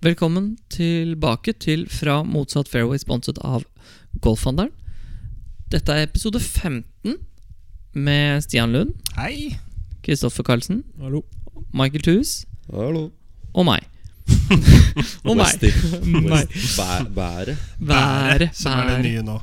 Velkommen tilbake til Fra motsatt fairway, sponset av Golfhandelen. Dette er episode 15 med Stian Lund, Hei! Kristoffer Karlsen, Hallo. Michael Thues Hallo. og meg. og meg. Nei. Bæret. Været. Som er det bæret. nye nå.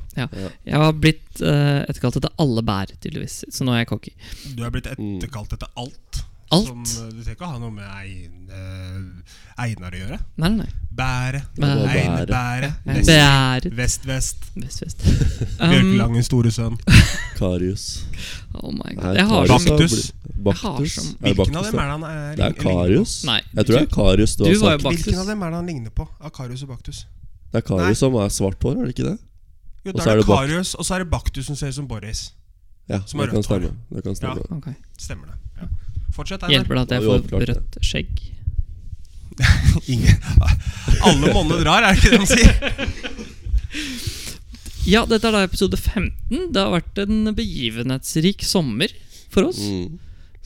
Jeg har blitt eh, etterkalt etter alle bær, tydeligvis, så nå er jeg cocky. Du er blitt Mm. etterkalt etter alt. Som, Alt? eh, du trenger ikke å ha noe med ein, eh, Einar å gjøre. Nei, nei. nei. Bære, Bære. Einebære, Vest- Bær. Vest-Vest, Vest, vest. Um, Bjørkelangens store sønn. Karius. oh my Nei, god. Jeg har Karius som så- er Baktus. bli- Jeg har Baktus. som- Er det Hvilken av Baktus, dem da? er det han er Det er Karius. Nei, Jeg tror det er Karius du du har var jo sagt. Baktus. Hvilken av dem er det han ligner på? Akarius og Baktus. Det er Nei. Karius som er svart hår, er det ikke det? Jo, Og da så er er det det Bak- Karius, og så er det Baktus som ser ut som Boris. Ja, Som har det kan rødt hår. stemme. Det kan stemme. Ok. Stemmer det. Ja. Fortsett, Einar. Hjelper det at jeg Det var jo får oppklart, det. rødt skjegg? Ingen. Alle monner drar, er det ikke det han sier? Ja, dette er da episode 15. Det har vært en begivenhetsrik sommer for oss. Mm.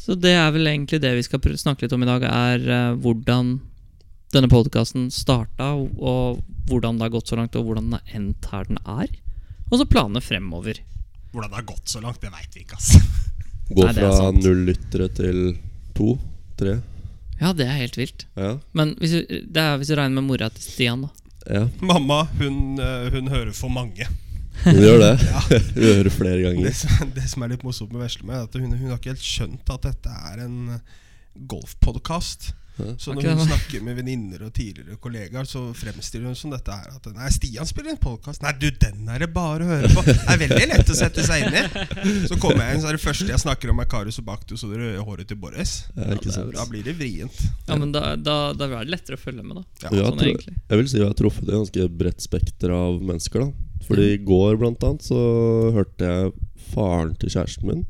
Så det er vel egentlig det vi skal prø- snakke litt om i dag, er eh, hvordan denne podkasten starta, og hvordan det har gått så langt, og hvordan den har endt her den er. Og så planene fremover. Hvordan det har gått så langt, det veit vi ikke, ass. Gå Nei, det er fra sant. null lyttere til to, tre. Ja, det er helt vilt. Ja. Men hvis du, det er hvis du regner med mora til Stian, da. ja. Mamma, hun, eh, hun hører for mange. Hun gjør det. Hun hører flere ganger. Det som, det som er litt morsomt med Veslemøy, er at hun, hun har ikke helt skjønt at dette er en golfpodkast. Ja. Så Ok, når hun da. snakker med venninner og tidligere kollegaer, så fremstiller hun som dette her. At nei, Stian spiller en podkast. Nei, du, den er det bare å høre på. Det er veldig lett å sette seg inn i. Så kommer jeg inn, så er det første jeg snakker om, er Karius og Baktus og det røde håret til Boris. Ja, ikke sant. Da blir det vrient. Ja, men da, da, da er det lettere å følge med, da. Ja, sånn tror- egentlig. Jeg vil si jeg har truffet et ganske bredt spekter av mennesker. da Fordi Mm. i går blant annet så hørte jeg faren til kjæresten min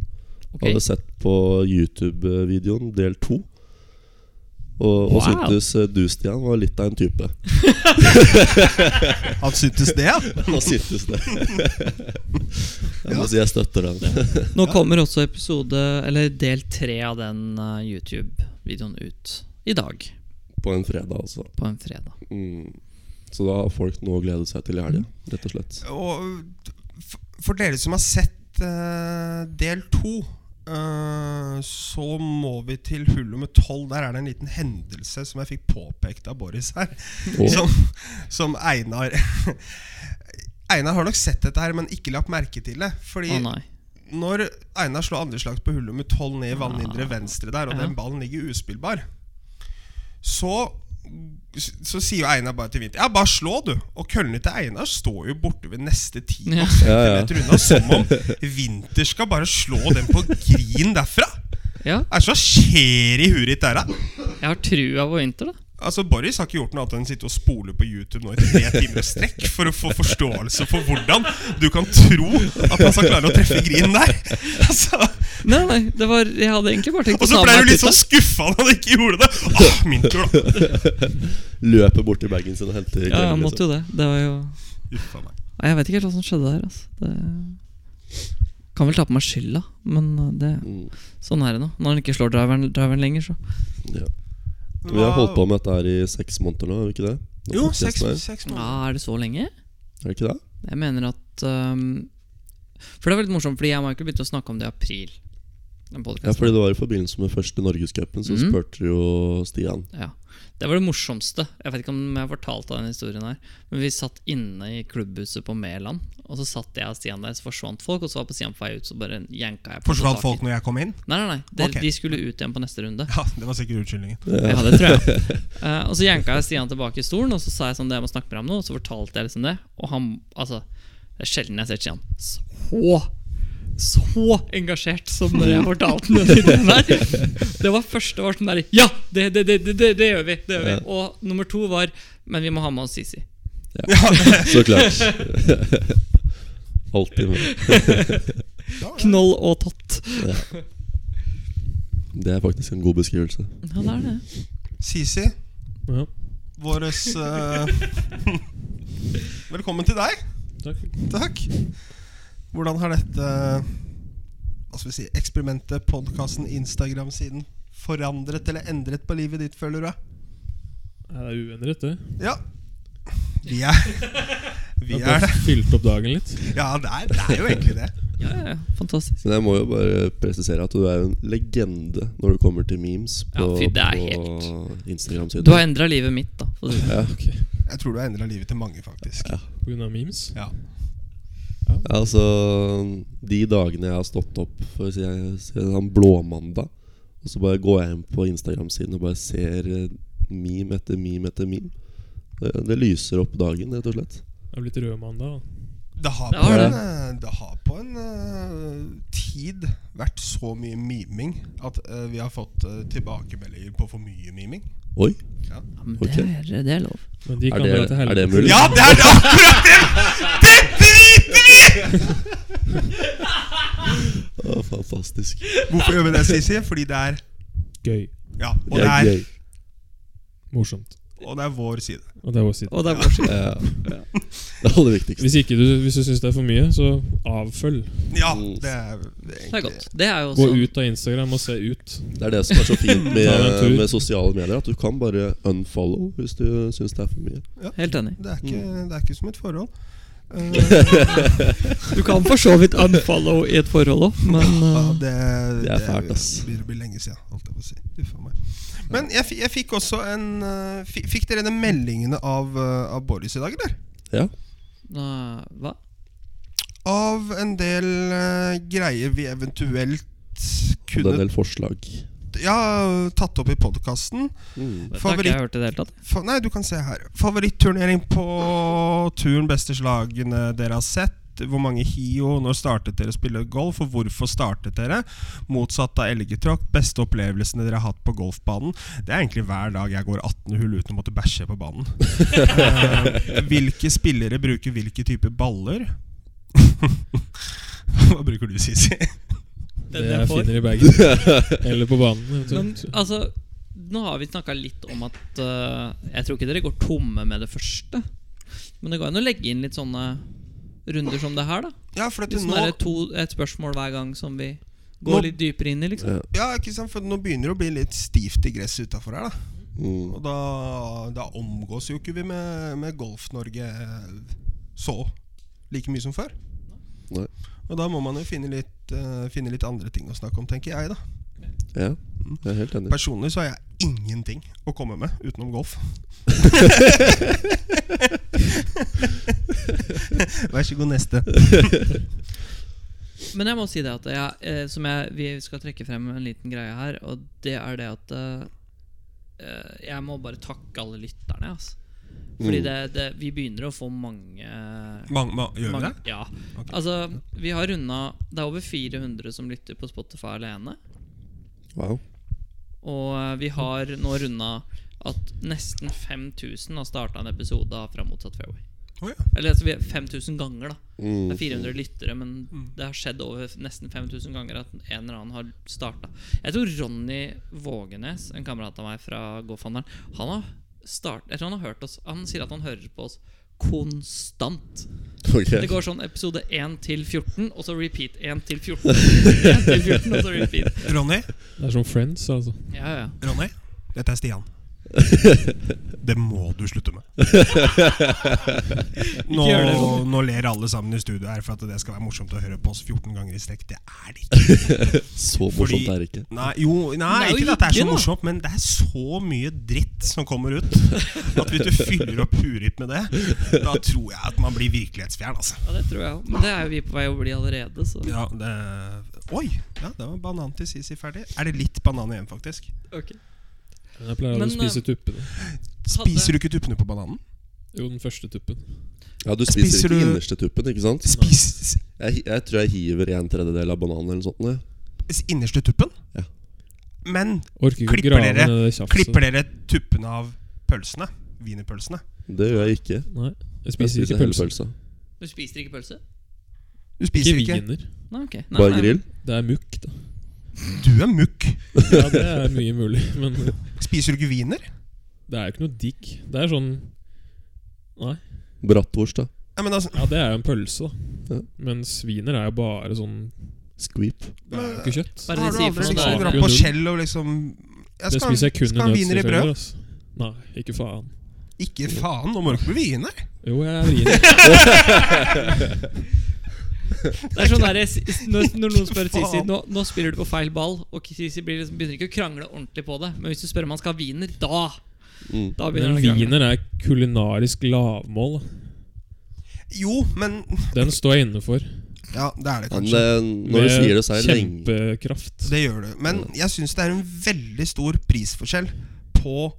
Ok. Hadde sett på YouTube-videoen del to. Og, og Wow. syntes eh, du, Stian, var litt av en type. Han syntes det, ja? Nå syntes det. Jeg må si jeg støtter den. Nå kommer også episode, eller del tre av den eh, YouTube-videoen ut i dag, På en fredag, altså. på en fredag. Mm. Så da har folk noe å glede seg til i helga, rett og slett. Og f- for dere som har sett eh, del to, eh, så må vi til hull nummer tolv. Der er det en liten hendelse som jeg fikk påpekt av Boris her. Og Som, som Einar Einar har nok sett dette her, men ikke lagt merke til det. Fordi Å nei. når Einar slår andreslags på hull nummer tolv ned i vannindre venstre der, Ah. og Ja. den ballen ligger uspillbar, så så sier jo Einar bare til Vinter Ja, bare slå, du! Og køllene til Einar står jo borte ved neste ti Ja. Ja, ja. centimeter unna, som om Vinter skal bare slå den på grin derfra! Ja, Hva er det som skjer i huet ditt der, da? jeg har trua på vinter, da. Altså, Boris har ikke gjort noe annet enn å sitte og spole på YouTube nå i tre timer i strekk for å få forståelse for hvordan du kan tro at man skal klare å treffe grinen der! Altså Nei, nei, det var, jeg hadde egentlig bare tenkt Og å så ta ble meg du litt tutta. sånn skuffa når han ikke gjorde det. Åh, min tur, da! løper bort til bagen sin og henter Ja, jeg klemmen, måtte jo det. Det var jo Uffa meg. Nei, Jeg vet ikke helt hva som skjedde der. Altså. Det... Kan vel ta på meg skylda, men uh, det... liksom. sånn er det nå. Når han ikke slår driveren, driveren lenger, så Mm, ja. Vi har holdt på med dette her i seks måneder nå, har vi ikke det? Nå Jo, podcasten seks, her. seks ja, måneder. Er det så lenge? Er det ikke det? Jeg mener at um... For det var litt morsomt, fordi jeg og Michael begynte å snakke om det i april. Den Ja, podcasten. fordi det var i forbindelse med første Norgescupen, så Mm. spurte jo Stian. Ja. Det var det morsomste. Jeg vet ikke om jeg fortalte den historien her. Men vi satt inne i klubbhuset på Mæland, og så satt jeg og Stian der, så forsvant folk, og så var på Stian på vei ut, så bare janka jeg på Forsvant taket. folk når jeg kom inn? Nei, nei, nei. De, Ok. de skulle ut igjen på neste runde. Ja, det var sikkert unnskyldningen. Ja, det tror jeg. Eh, og så janka jeg Stian tilbake i stolen, og så sa jeg sånn det jeg må snakke med deg om nå, og så fortalte jeg liksom det, og han Altså, det er sjelden jeg ser Stian så så engasjert som når jeg fortalte den historien der. Det var første var sånn der Ja, det, det, det, det, det, det gjør vi! Det gjør vi. Og nummer to var Men vi må ha med oss Sisi. Så klart. Alltid med. Knoll og tott. Det er faktisk en god beskrivelse. Ja, det er det. Sisi, Ja, våres eh, Velkommen til deg. takk. Takk. Hvordan har dette hva skal vi si, eksperimentet, podkasten, Instagram-siden forandret eller endret på livet ditt, føler du? Nei, det er uvenner, vet du. Ja. Vi er, vi Vi er har det. fylt opp dagen litt. Ja, det er, det er jo egentlig det. Ja, ja, ja, fantastisk. Men jeg må jo bare presisere at du er jo en legende når det kommer til memes på, Ja, fy, det er på Instagram-siden. Du har endra livet mitt, da. for å si det. ja. Ok, Jeg tror du har endra livet til mange, faktisk. På grunn av memes? Ja. Ja, Altså, de dagene jeg har stått opp for å si, si sånn blåmandag, og så bare går jeg inn på Instagram-siden og bare ser eh, meme etter meme etter meme. Det, det lyser opp dagen, rett og slett. Jeg har blitt rød mandag. da. Det har, Det på har en, det. eh, det har på en eh, tid vært så mye miming at eh, vi har fått eh, tilbakemeldinger på for mye miming. Oi! Ja, men Ok. det, er, det er lov. Men de Er kan det- dra til er helvete. det mulig? Ja, det er det akkurat det! Det driter vi i! Å, fantastisk. Hvorfor gjør vi det, Sisi? Fordi det er Gøy. Ja, og Det det er er, gøy. Morsomt. og det er vår side. Og det er vår side. Og det er vår skyld. Ja. Det er aller viktigste. Hvis, ikke du, hvis du syns det er for mye, så avfølg. Ja, det er det er Det er egentlig godt. Det er jo sånn. Gå Altså- også ut av Instagram og se ut. Det er det som er så fint med, Ta deg en tur. med sosiale medier, at du kan bare unfollow hvis du syns det er for mye. Helt enig. Det er ikke, Mm. det er ikke som et forhold. Eh, Du kan for så vidt unfollow i et forhold òg, men ja, uh, det, Det er fælt, ass. Det begynner å bli lenge siden, holdt jeg på å si. Uff a meg. Men jeg, fi- jeg fikk også en eh, fi- Fikk dere de meldingene av, eh, av Boris i dag, eller? Ja. uh, Hva? Av en del eh, greier vi eventuelt Det er en kunne del forslag. ja, tatt opp i podkasten. Mm. Dette har ikke Favoritt- jeg hørt i det hele tatt. Fa- Nei, du kan se her. Favoritturnering på turen, beste slagene dere har sett. Hvor mange hio, når startet dere å spille golf, og hvorfor startet dere? Motsatt av elgetråkk, beste opplevelsene dere har hatt på golfbanen. Det er egentlig hver dag jeg går 18 hull uten å måtte bæsje på banen. Eh, hvilke spillere bruker hvilke typer baller? Hva bruker du, Sisi? Det Den jeg jeg får. finner i bagen. Eller på banen. Men eventuelt. altså, nå har vi snakka litt om at eh, Jeg tror ikke dere går tomme med det første. Men det går an å legge inn litt sånne runder som det her, da. Ja, for at Litt sånn nå, derre to, et spørsmål hver gang som vi Nå- går litt dypere inn i, liksom. ja, ikke sant? For nå begynner det å bli litt stivt i gresset utafor her, da. Mm. Og da, da omgås jo ikke vi med, med Golf-Norge eh, så like mye som før. Nei. Og da må man jo finne litt, eh, finne litt andre ting å snakke om, tenker jeg. da Ja, jeg er helt enig. Personlig så har jeg ingenting å komme med utenom golf. Vær så god, neste. Men jeg må si det at jeg, eh, som jeg, vi skal trekke frem en liten greie her, og det er det at eh, eh, Jeg må bare takke alle lytterne, altså. Fordi Mm. det, det, vi begynner å få mange eh, Mange, ma gjør vi mange, det? Ja. Ok. Altså, vi har runda Det er over 400 som lytter på Spotify alene. Wow. Og eh, vi har nå runda at nesten 5000 har starta en episode av Fra motsatt fairway. Å ja. Eller altså, vi er 5000 ganger, da. Det Mm. er 400 lyttere, men Mm. det har skjedd over nesten 5000 ganger at en eller annen har starta. Jeg tror Ronny Vågenes, en kamerat av meg fra GoFunderen, han har start, jeg tror han har hørt oss Han sier at han hører på oss konstant. Ok. Det går sånn episode 1 til 14, og så repeat 1 til 14. 1 til 14 og så repeat. Ronny, Det er som Friends, altså. Ja, ja. Ronny, dette er Stian. Det må du slutte med. Nå, gjør det, Ronny. nå ler alle sammen i studio her for at det skal være morsomt å høre på oss 14 ganger i strekk. Det er det ikke. Så Fordi- morsomt er det ikke. Nei, jo, nei Det er jo ikke at det er ikke, så da. morsomt, men det er så mye dritt som kommer ut. At hvis du fyller opp huet ditt med det, da tror jeg at man blir virkelighetsfjern, altså. ja det tror jeg òg. Men det er jo vi på vei å bli allerede, så Ja, det Oi! Ja, det var banan til Sisi ferdig. Er det litt banan igjen, faktisk? ok. Jeg pleier Men, aldri å eh, spise tuppene. Spiser du ikke tuppene på bananen? Jo, den første tuppen. Ja, Du spiser, Spiser ikke du- innerste tuppen, ikke sant? Spis Jeg, hi- jeg tror jeg hiver en tredjedel av bananen eller noe sånt. jeg. s- innerste tuppen? Ja. Men Orker ikke Klipper grave dere- ned det tjafset. Klipper dere tuppene av pølsene? Wienerpølsene? Det gjør jeg ikke. Nei, jeg Jeg spiser ikke hele pølse. pølsa. Du spiser ikke pølse? Du Ikke spiser ikke? wiener. Nei, ok. Nei, Bare nei. grill. Det er mukk, da. Du er mukk. Ja, det er mye mulig, men Spiser du ikke wiener? det er jo ikke noe digg. Det er sånn Nei. Bratwurst, da. Nei, men altså, Ja, det er jo en pølse, da. Ja. Men sviner er jo bare sånn Squeep. Det er jo ikke kjøtt. Bare de har du sier aldri for noe liksom der. dratt på skjell og liksom jeg Det spiser jeg kun i skal ha wiener i brød. nødstilfeller. ass. Nei, ikke faen. Ikke faen, nå må du ikke bli vrien her! Jo, jeg er vrien. Det er sånn der, s- når, når noen spør Faen. Sisi nå, nå spiller du på feil ball, og Sisi blir liksom, begynner ikke å krangle ordentlig på det. Men hvis du spør om han skal ha wiener, da Mm. Da begynner Men han å krangle. wiener er kulinarisk lavmål. Jo, men Den står jeg inne for. Ja, det er det Men kanskje. eh, når du sier det, så er det lenge kjempekraft. Det gjør du. Men Mm. jeg syns det er en veldig stor prisforskjell på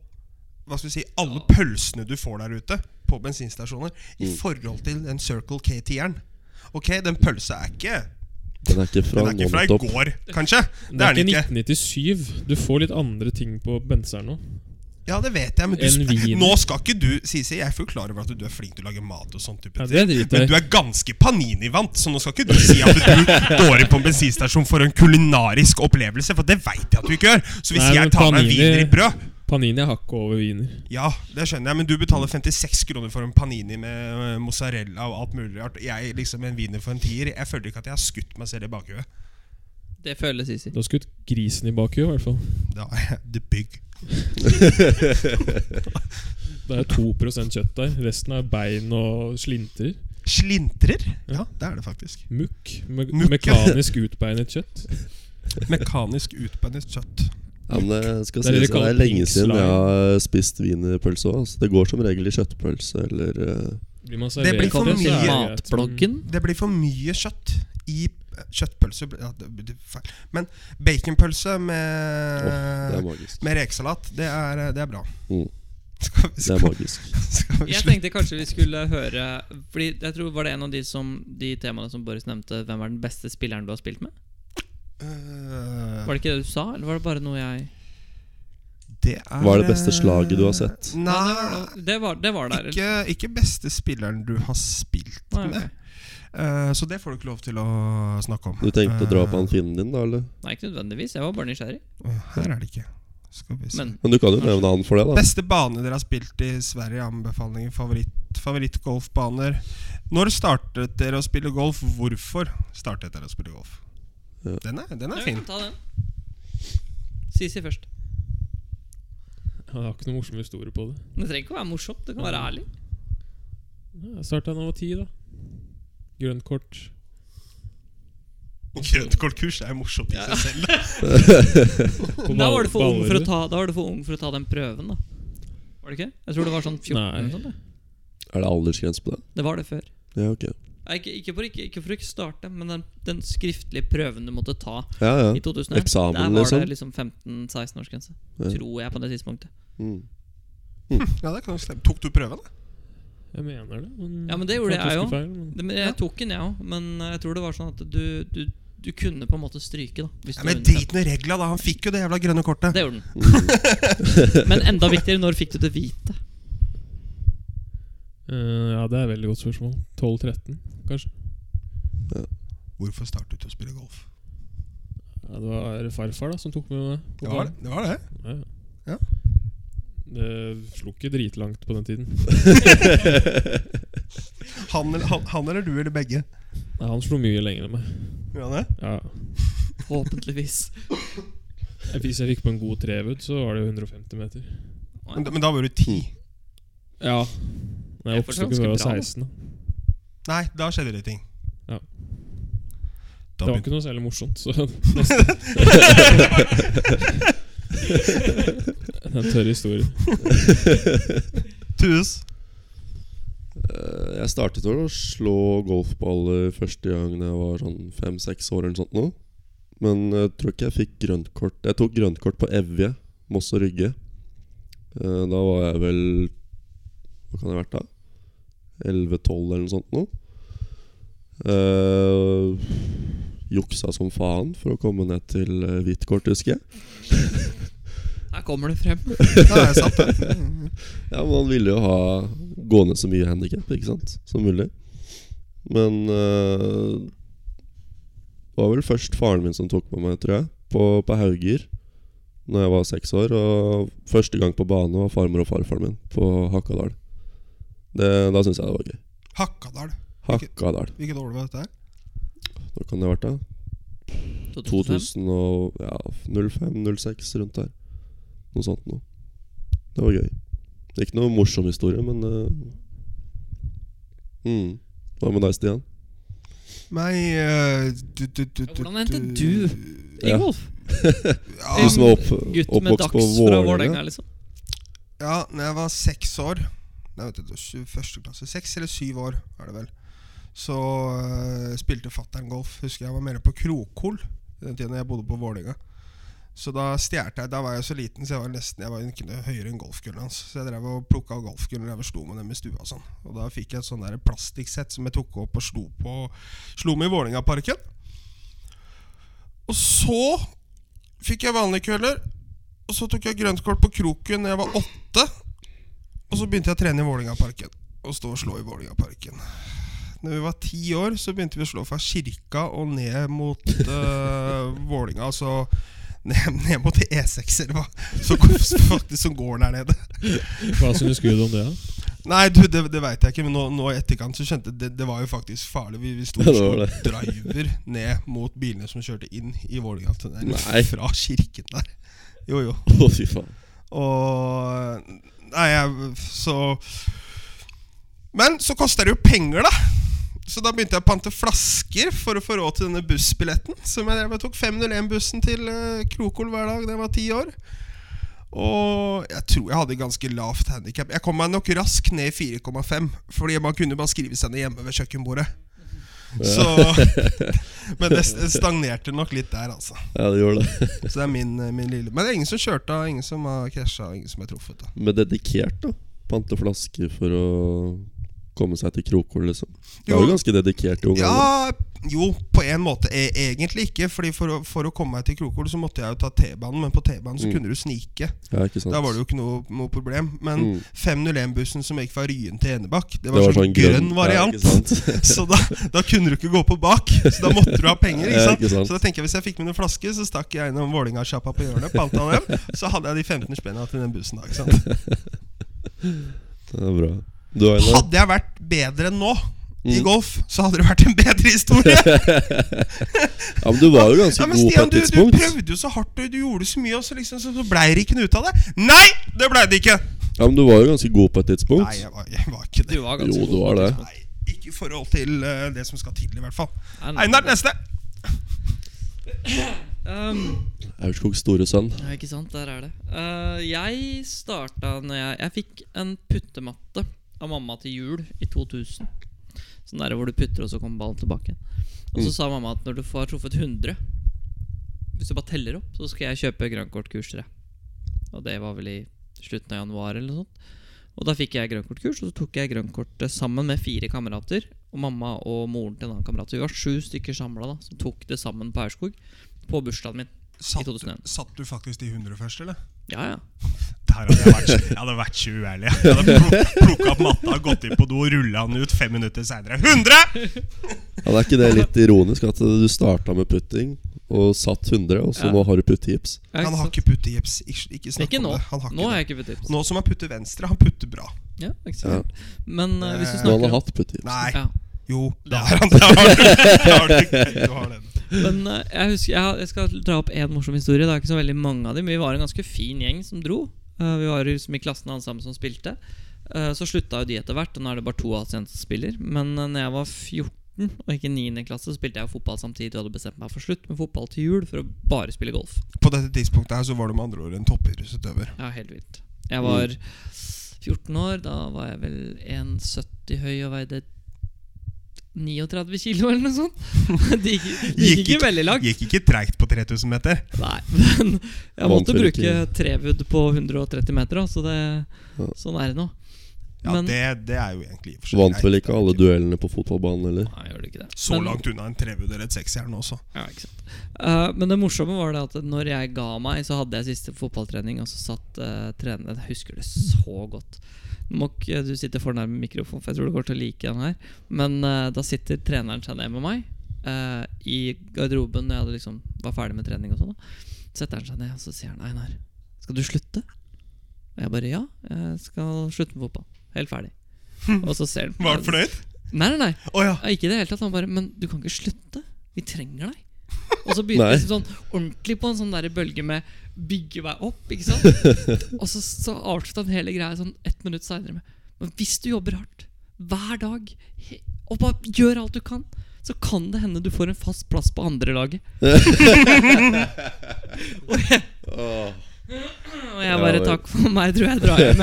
hva skal vi si, alle pølsene du får der ute på bensinstasjoner, i Mm. forhold til den Circle K-tieren. Ok, den pølsa er ikke Den er ikke fra Den er ikke fra i non-top. går, kanskje? Det er den ikke 1997. Du får litt andre ting på benseren nå. Ja, det vet jeg, men du, En sp- wiener. nå skal ikke du Sisi, jeg er fullt klar over at du er flink til å lage mat og sånn type Ja, ting. det driter Men jeg du i. er ganske Panini-vant, så nå skal ikke du si at du går inn på en bensinstasjon for en kulinarisk opplevelse, for det veit jeg at du ikke gjør. Så hvis Nei, men jeg tar meg Panini- wiener i brød Panini er hakket over wiener. Ja, det skjønner jeg, men du betaler 56 kroner for en panini med øh, mozzarella og alt mulig rart. Jeg liksom en wiener for en tier. Jeg føler ikke at jeg har skutt meg selv i bakhuet. Det føler Sisi. Du har skutt grisen i bakhuet, i hvert fall. Da er jeg the big. Det er 2 kjøtt der. Resten er bein og slinter. Slintrer? Ja, det er det faktisk. Mukk. Me Mukk, ja. Mekanisk utbeinet kjøtt. Mekanisk utbeinet kjøtt. Ja, men det eh, skal Det er sies det de at det kaller er lenge pink siden slime. jeg har spist wienerpølse òg. Altså. Det går som regel i kjøttpølse eller eh, Blir man Det blir servert for Kommer så til mye. er det greit. sånn matbloggen. Det blir for mye kjøtt i eh, kjøttpølse. blir- Ja, det blir feil. Men baconpølse med, Det er magisk. med rekesalat, det er, eh, det er bra. Skal vi, Mm. Det er skal, magisk. skal vi Jeg slutte? tenkte kanskje vi skulle høre Fordi jeg tror Var det en av de som De temaene som Boris nevnte, hvem er den beste spilleren du har spilt med? Eh, Var det ikke det du sa, eller var det bare noe jeg det er Hva er det beste eh, slaget du har sett? det var, Nei, noe- det var, det var der. ikke, ikke beste spilleren du har spilt Nei, med. ok. Eh, så det får du ikke lov til å snakke om. Du tenkte å dra på han Eh, finnen din, da? eller? Nei, ikke nødvendigvis. Jeg var bare nysgjerrig. Her er det ikke. Skal vi se. Men Men du kan jo nevne han for det, da. Beste bane dere har spilt i Sverige? Anbefalinger? Favoritt, favorittgolfbaner? Når startet dere å spille golf? Hvorfor startet dere å spille golf? Ja. Den er, den Ja, er vi fin. kan ta den. Sisi først. Mm. Jeg har ikke noen morsom historie på det. Det trenger ikke å være morsomt. Det kan være ærlig. Jeg starta da jeg var ti, da. Grønt kort. Grøntkortkurs er jo morsomt i seg selv. På Da var, du for ung for å Ballerud. ta, da var du for ung for å ta den prøven, da. Var det ikke? Jeg tror det var sånn 14. Nei. eller Sånn, Er det aldersgrense på det? det var det før. Ja, ok. Nei, ikke, ikke, for, ikke, ikke for å ikke starte, men den, den skriftlige prøven du måtte ta Ja, i ja. 2001 Eksamen, Der var liksom? det liksom 15-16-årsgrense. Ja. Tror jeg, på det tidspunktet. Mm. Ja, det kan jo stemme. Tok du prøven, da? Jeg mener det. Men Ja, men det gjorde Faktisk jeg jo. feil, men- Det, men jeg tok den, jeg ja, òg, men jeg tror det var sånn at du, du, du kunne på en måte stryke, da. Hvis du Ja, var men under drit i regla, da. Han fikk jo det jævla grønne kortet. Det gjorde den. Men enda viktigere, når fikk du det hvite? Eh, ja, det er et veldig godt spørsmål. 12-13, kanskje? Hvorfor startet du å spille golf? Ja, det var farfar da som tok med meg. på Det var det. det, var det. banen. Ja. Ja. Det slo ikke dritlangt på den tiden. Han, eller- han, han eller du eller begge? Nei, han slo mye lenger enn meg. Ja, det. Ja. Forhåpentligvis. Jeg- Hvis jeg fikk på en god trevud, så var det jo 150 meter. Men, da- men da var du ti. Ja. Nei, Det er jeg oppsto fortsatt ikke før jeg ganske var bra, da. 16. Da. Nei, da skjedde det ting. Ja. Da Det var begynte ikke noe særlig morsomt, så Det er en tørr historie. Tues. Eh, Jeg startet vel å slå golfballer første gang da jeg var sånn fem-seks år eller noe sånt. Nå. Men jeg tror ikke jeg fikk grønt kort. Jeg tok grønt kort på Evje, Moss og Rygge. Eh, Da var jeg vel Hva kan jeg ha vært da? 11-12 eller noe sånt nå. Eh, juksa som faen for å komme ned til eh, hvitt kort, husker jeg. Her kommer det frem. Da er jeg satt, da. Ja, man ville jo ha gående så mye handikap ikke sant? som mulig. Men eh, det var vel først faren min som tok med meg, tror jeg, på, på Hauger. Når jeg var seks år. Og første gang på bane var farmor og farfaren min på Hakadal. Det, da syns jeg det var gøy. Hakadal. Hakadal. Hvilket år var dette her? Når kan det ha vært, da? 2000 og ja, 05-06, rundt der. Noe sånt noe. Det var gøy. Ikke noe morsom historie, men eh, mm. Hva med deg, Stian? Nei eh, du, du, du, Ja, hvordan endte du? Ingolf. Ja, Du som er opp, Gutt med oppvokst på dags fra Vålerenga, Vålerenga? liksom. ja, når jeg var seks år Nei, vet du, sju- første klasse Seks eller syv år, er det vel. Så eh, spilte fattern golf. Husker jeg var mer på Krokol den tiden jeg bodde på Vålerenga. Så da stjal jeg Da var jeg så liten, så jeg var nesten Jeg var ikke noe høyere enn golfkølla hans. Så jeg drev og plukka golfkøller og drev og slo med dem i stua og sånn. Og da fikk jeg et sånn der plastikksett som jeg tok opp og slo på Slo med i Vålerengaparken. Og så fikk jeg vanlige køller. Og så tok jeg grønt kort på kroken da jeg var åtte. Og så begynte jeg å trene i Vålerengaparken. Og stå og slå i Vålerengaparken. Når vi var ti år, så begynte vi å slå fra kirka og ned mot uh, Vålinga. Altså ned, ned mot E6, eller hva som faktisk som går der nede. Hva synes Gud om det? da? Nei, du, det, det veit jeg ikke, men nå, nå i etterkant så skjønte jeg det, det var jo faktisk farlig. Vi, vi sto Ja, og det slo var driver ned mot bilene som kjørte inn i Vålerenga-tunnelen Nei. fra kirken der. Jo, jo. Å, fy faen. Og Nei, jeg Så Men så koster det jo penger, da. Så da begynte jeg å pante flasker for å få råd til denne bussbilletten. Som jeg drev og tok 501-bussen til eh, Krokol hver dag da jeg var ti år. Og jeg tror jeg hadde ganske lavt handikap. Jeg kom meg nok raskt ned i 4,5. Fordi man kunne bare skrive seg ned hjemme ved kjøkkenbordet. Så Men det stagnerte nok litt der, altså. Ja, det gjør det. Så det er min, eh, min lille Men det er ingen som kjørte av, ingen som har krasja, ingen som er truffet. da Men dedikert, da. Pante flasker for å komme seg til Krokol, liksom. Du er Jo. jo ganske dedikert i ungene. Ja, jo, på en måte. E egentlig ikke. Fordi for å, for å komme meg til Krokol så måtte jeg jo ta T-banen, men på T-banen så Mm. kunne du snike. Ja, ikke sant? Da var det jo ikke noe, noe problem. Men Mm. 501-bussen som gikk fra Ryen til Enebakk, det Det var, var sånn grønn Ja, variant. ikke sant? så da, da kunne du ikke gå på bak, så da måtte du ha penger. ikke Ja, sant? ikke sant. Så da tenker jeg hvis jeg fikk med noen flasker, så stakk jeg innom Vålerenga-sjappa på hjørnet, panta dem, så hadde jeg de 15 spenna til den bussen da. ikke sant? Det er bra. Du, Einar? Hadde jeg vært bedre enn nå i Mm. golf, så hadde det vært en bedre historie. Ja, men du var jo ganske Ja, men god på Stian, et du, du tidspunkt. prøvde jo så hardt, og du gjorde så mye, og så, liksom, så, så blei det ikke noe ut av det. Nei, det blei det ikke! Ja, men du var jo ganske god på et tidspunkt. Nei, jeg var, jeg var ikke Du det. var ganske jo, du god. var det. Nei, ikke i forhold til eh, det som skal til, i hvert fall. Nei, nei. Einar, neste! Um, Aurskogs store sønn. ja, ikke sant, der er det. Eh, jeg starta når jeg Jeg fikk en puttematte av mamma til jul i 2000. Sånn der hvor du putter, og så kommer ballen tilbake. Og så Mm. sa mamma at når du får truffet 100, hvis du bare teller opp, så skal jeg kjøpe grønnkortkurs til deg. Og det var vel i slutten av januar eller noe sånt. Og da fikk jeg grønnkortkurs, og så tok jeg grønnkortet sammen med fire kamerater. Og mamma og moren til en annen kamerat. Så vi var sju stykker samla som tok det sammen på Aurskog på bursdagen min. I Satt, 2001. satt du faktisk de 100 først, eller? Ja, ja. Der hadde jeg vært, jeg hadde vært så uærlig. Jeg hadde pl- plukket opp matta, gått inn på do og rulla den ut fem minutter seinere. 100! Ja, det er ikke det litt ironisk at du starta med putting og satt 100, og så Ja. nå har du puttehips? Ja, Han har sant? ikke puttegips. Ikke, ikke snakk Ikke om nå. det. Han har Nå ikke har jeg det. ikke fått tips. Nå som han putter venstre, han putter bra. Ja, ikke sant? Men eh, hvis du Du snakker hadde om hatt puttehips. Nei, ja. jo, det har han. Det har du. Det har du. ikke. Du har den. Men eh, jeg husker jeg, jeg skal dra opp én morsom historie. Det er ikke så veldig mange av dem. men Vi var en ganske fin gjeng som dro. Eh, vi var liksom i klassen alle sammen som spilte. Eh, så slutta jo de etter hvert, og nå er det bare to av oss jenter som spiller. Men uh, når jeg var 14 og gikk i 9. klasse, så spilte jeg jo fotball samtidig. Og hadde bestemt meg for slutt med fotball til jul for å bare spille golf. På dette tidspunktet her så var du med andre ord en toppidrettsutøver. Ja, helt vilt. Jeg var 14 år. Da var jeg vel 1,70 høy og veide 39 kilo eller noe sånt. Det gikk, det gikk ikke veldig langt. Gikk ikke treigt på 3000 meter. Nei, men jeg måtte Vant vel bruke trevudd på 130 meter, da, så det, Ja. sånn er det nå. Ja, Men- det, det er jo egentlig i og for seg Vant vel greit. ikke alle duellene på fotballbanen, eller? Nei, gjør det ikke det. Så Men- langt unna en trevud eller et seksjern også. Ja, ikke sant. Eh, men det morsomme var det at når jeg ga meg, så hadde jeg siste fotballtrening, og så satt uh, treneren Jeg husker det så godt. Nå må ikke du sitte for nærme mikrofonen, for jeg tror du går til å like den her. Men eh, da sitter treneren seg ned med meg eh, i garderoben når jeg hadde liksom var ferdig med trening og sånn. da. Setter han seg ned, og så sier han Einar, skal du slutte? Og jeg bare ja, jeg skal slutte med fotball. Helt ferdig. Og så ser han på Var han meg- fornøyd? Nei, nei, nei. Å ja. Ja, ikke i det hele tatt. Han bare Men du kan ikke slutte. Vi trenger deg. Og så begynte Nei. det liksom sånn ordentlig på en sånn der bølge med bygge meg opp. ikke sant? Og så, så avslutta han hele greia sånn ett minutt seinere med Men hvis du jobber hardt hver dag he- og bare gjør alt du kan, så kan det hende du får en fast plass på andrelaget. og, jeg- Åh, og jeg Ja, bare vel. Takk for meg, tror jeg drar hjem.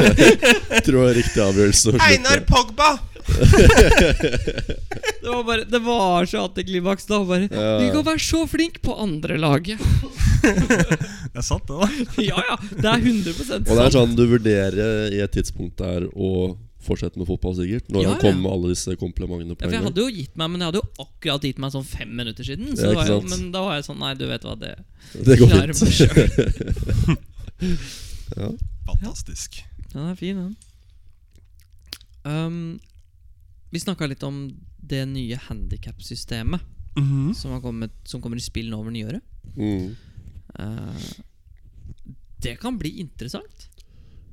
tror det er riktig avgjørelse. å slutte. Einar Pogba! Det var, bare, det var så antiklimaks. Da bare Ja. Du kan være så flink på andrelaget. Det er sant, det, da. ja, ja. Det er 100 sant. Og det er sånn du vurderer i et tidspunkt der å fortsette med fotball, sikkert. Når Ja, han ja. kom med alle disse komplimentene Ja, på for jeg en gang. hadde jo gitt meg, men jeg hadde jo akkurat gitt meg sånn fem minutter siden. Så Ja, det var jo, ikke sant. men da var jeg sånn Nei, du vet hva, det Det går klarer meg fint. sjøl. Fantastisk. Den er fin, den. Um, vi snakka litt om det nye handikapsystemet Mhm. som, har kommet- som kommer i spill nå over nyåret. Mm. Eh, det kan bli interessant.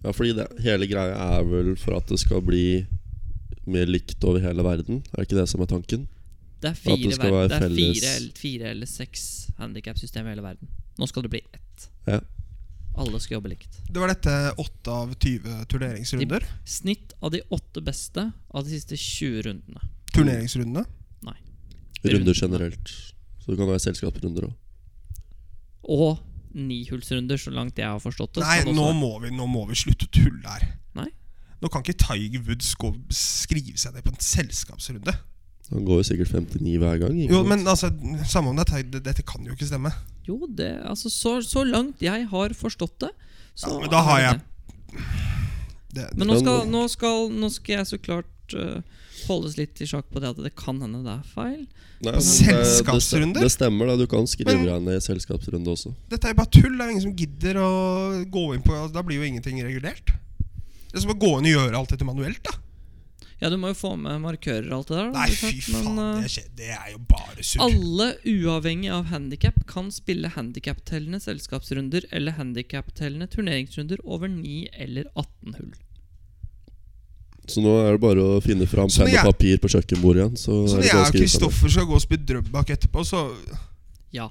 Ja, fordi det, hele greia er vel for at det skal bli mer likt over hele verden. Er det ikke det som er tanken? Det er At fire, det skal ver- være det er felles- fire, eller- fire eller seks handikapsystem i hele verden. Nå skal det bli ett. Ja. Alle skal jobbe likt. Det var dette 8 av 20 turneringsrunder. Snitt av de åtte beste av de siste 20 rundene. Turneringsrundene. Runder generelt. Så det kan være selskapsrunder òg. Og nihullsrunder, så langt jeg har forstått det. Nei, skal det nå også være. må, vi, nå må vi slutte å tulle her. Nei. Nå kan ikke Tiger Woods gå, skrive seg ned på en selskapsrunde. Han går jo sikkert 59 hver gang. ikke Jo, sant? men altså, Samme om det er Tiger, dette kan jo ikke stemme. Jo, det, altså, så, så langt jeg har forstått det, så Ja, men da har er det jeg- det. Det, Men nå skal, nå skal, nå skal jeg så klart eh, holdes litt i sjakk på det at det kan hende det er feil. Nei, men det- Selskapsrunder? Det, det stemmer, da. Du kan skrive Men- deg ned i selskapsrunde også. Dette er jo bare tull. Det er jo ingen som gidder å gå inn på altså, Da blir jo ingenting regulert. Det er som å gå inn og gjøre alt dette manuelt, da. Ja, du må jo få med markører og alt det der. da, Nei, ikke fy sant? faen. Men, eh, Det, skjer, det er jo bare surr. Alle, uavhengig av handikap, kan spille handikaptellende selskapsrunder eller handikaptellende turneringsrunder over 9 eller 18 hull. Så nå er det bare å finne fram Så når penn og jeg- papir på kjøkkenbordet igjen. Så, Så er når det jeg bare og å skrive seg ned. Kristoffer skal gå og spille Drøbak etterpå, så, Ja.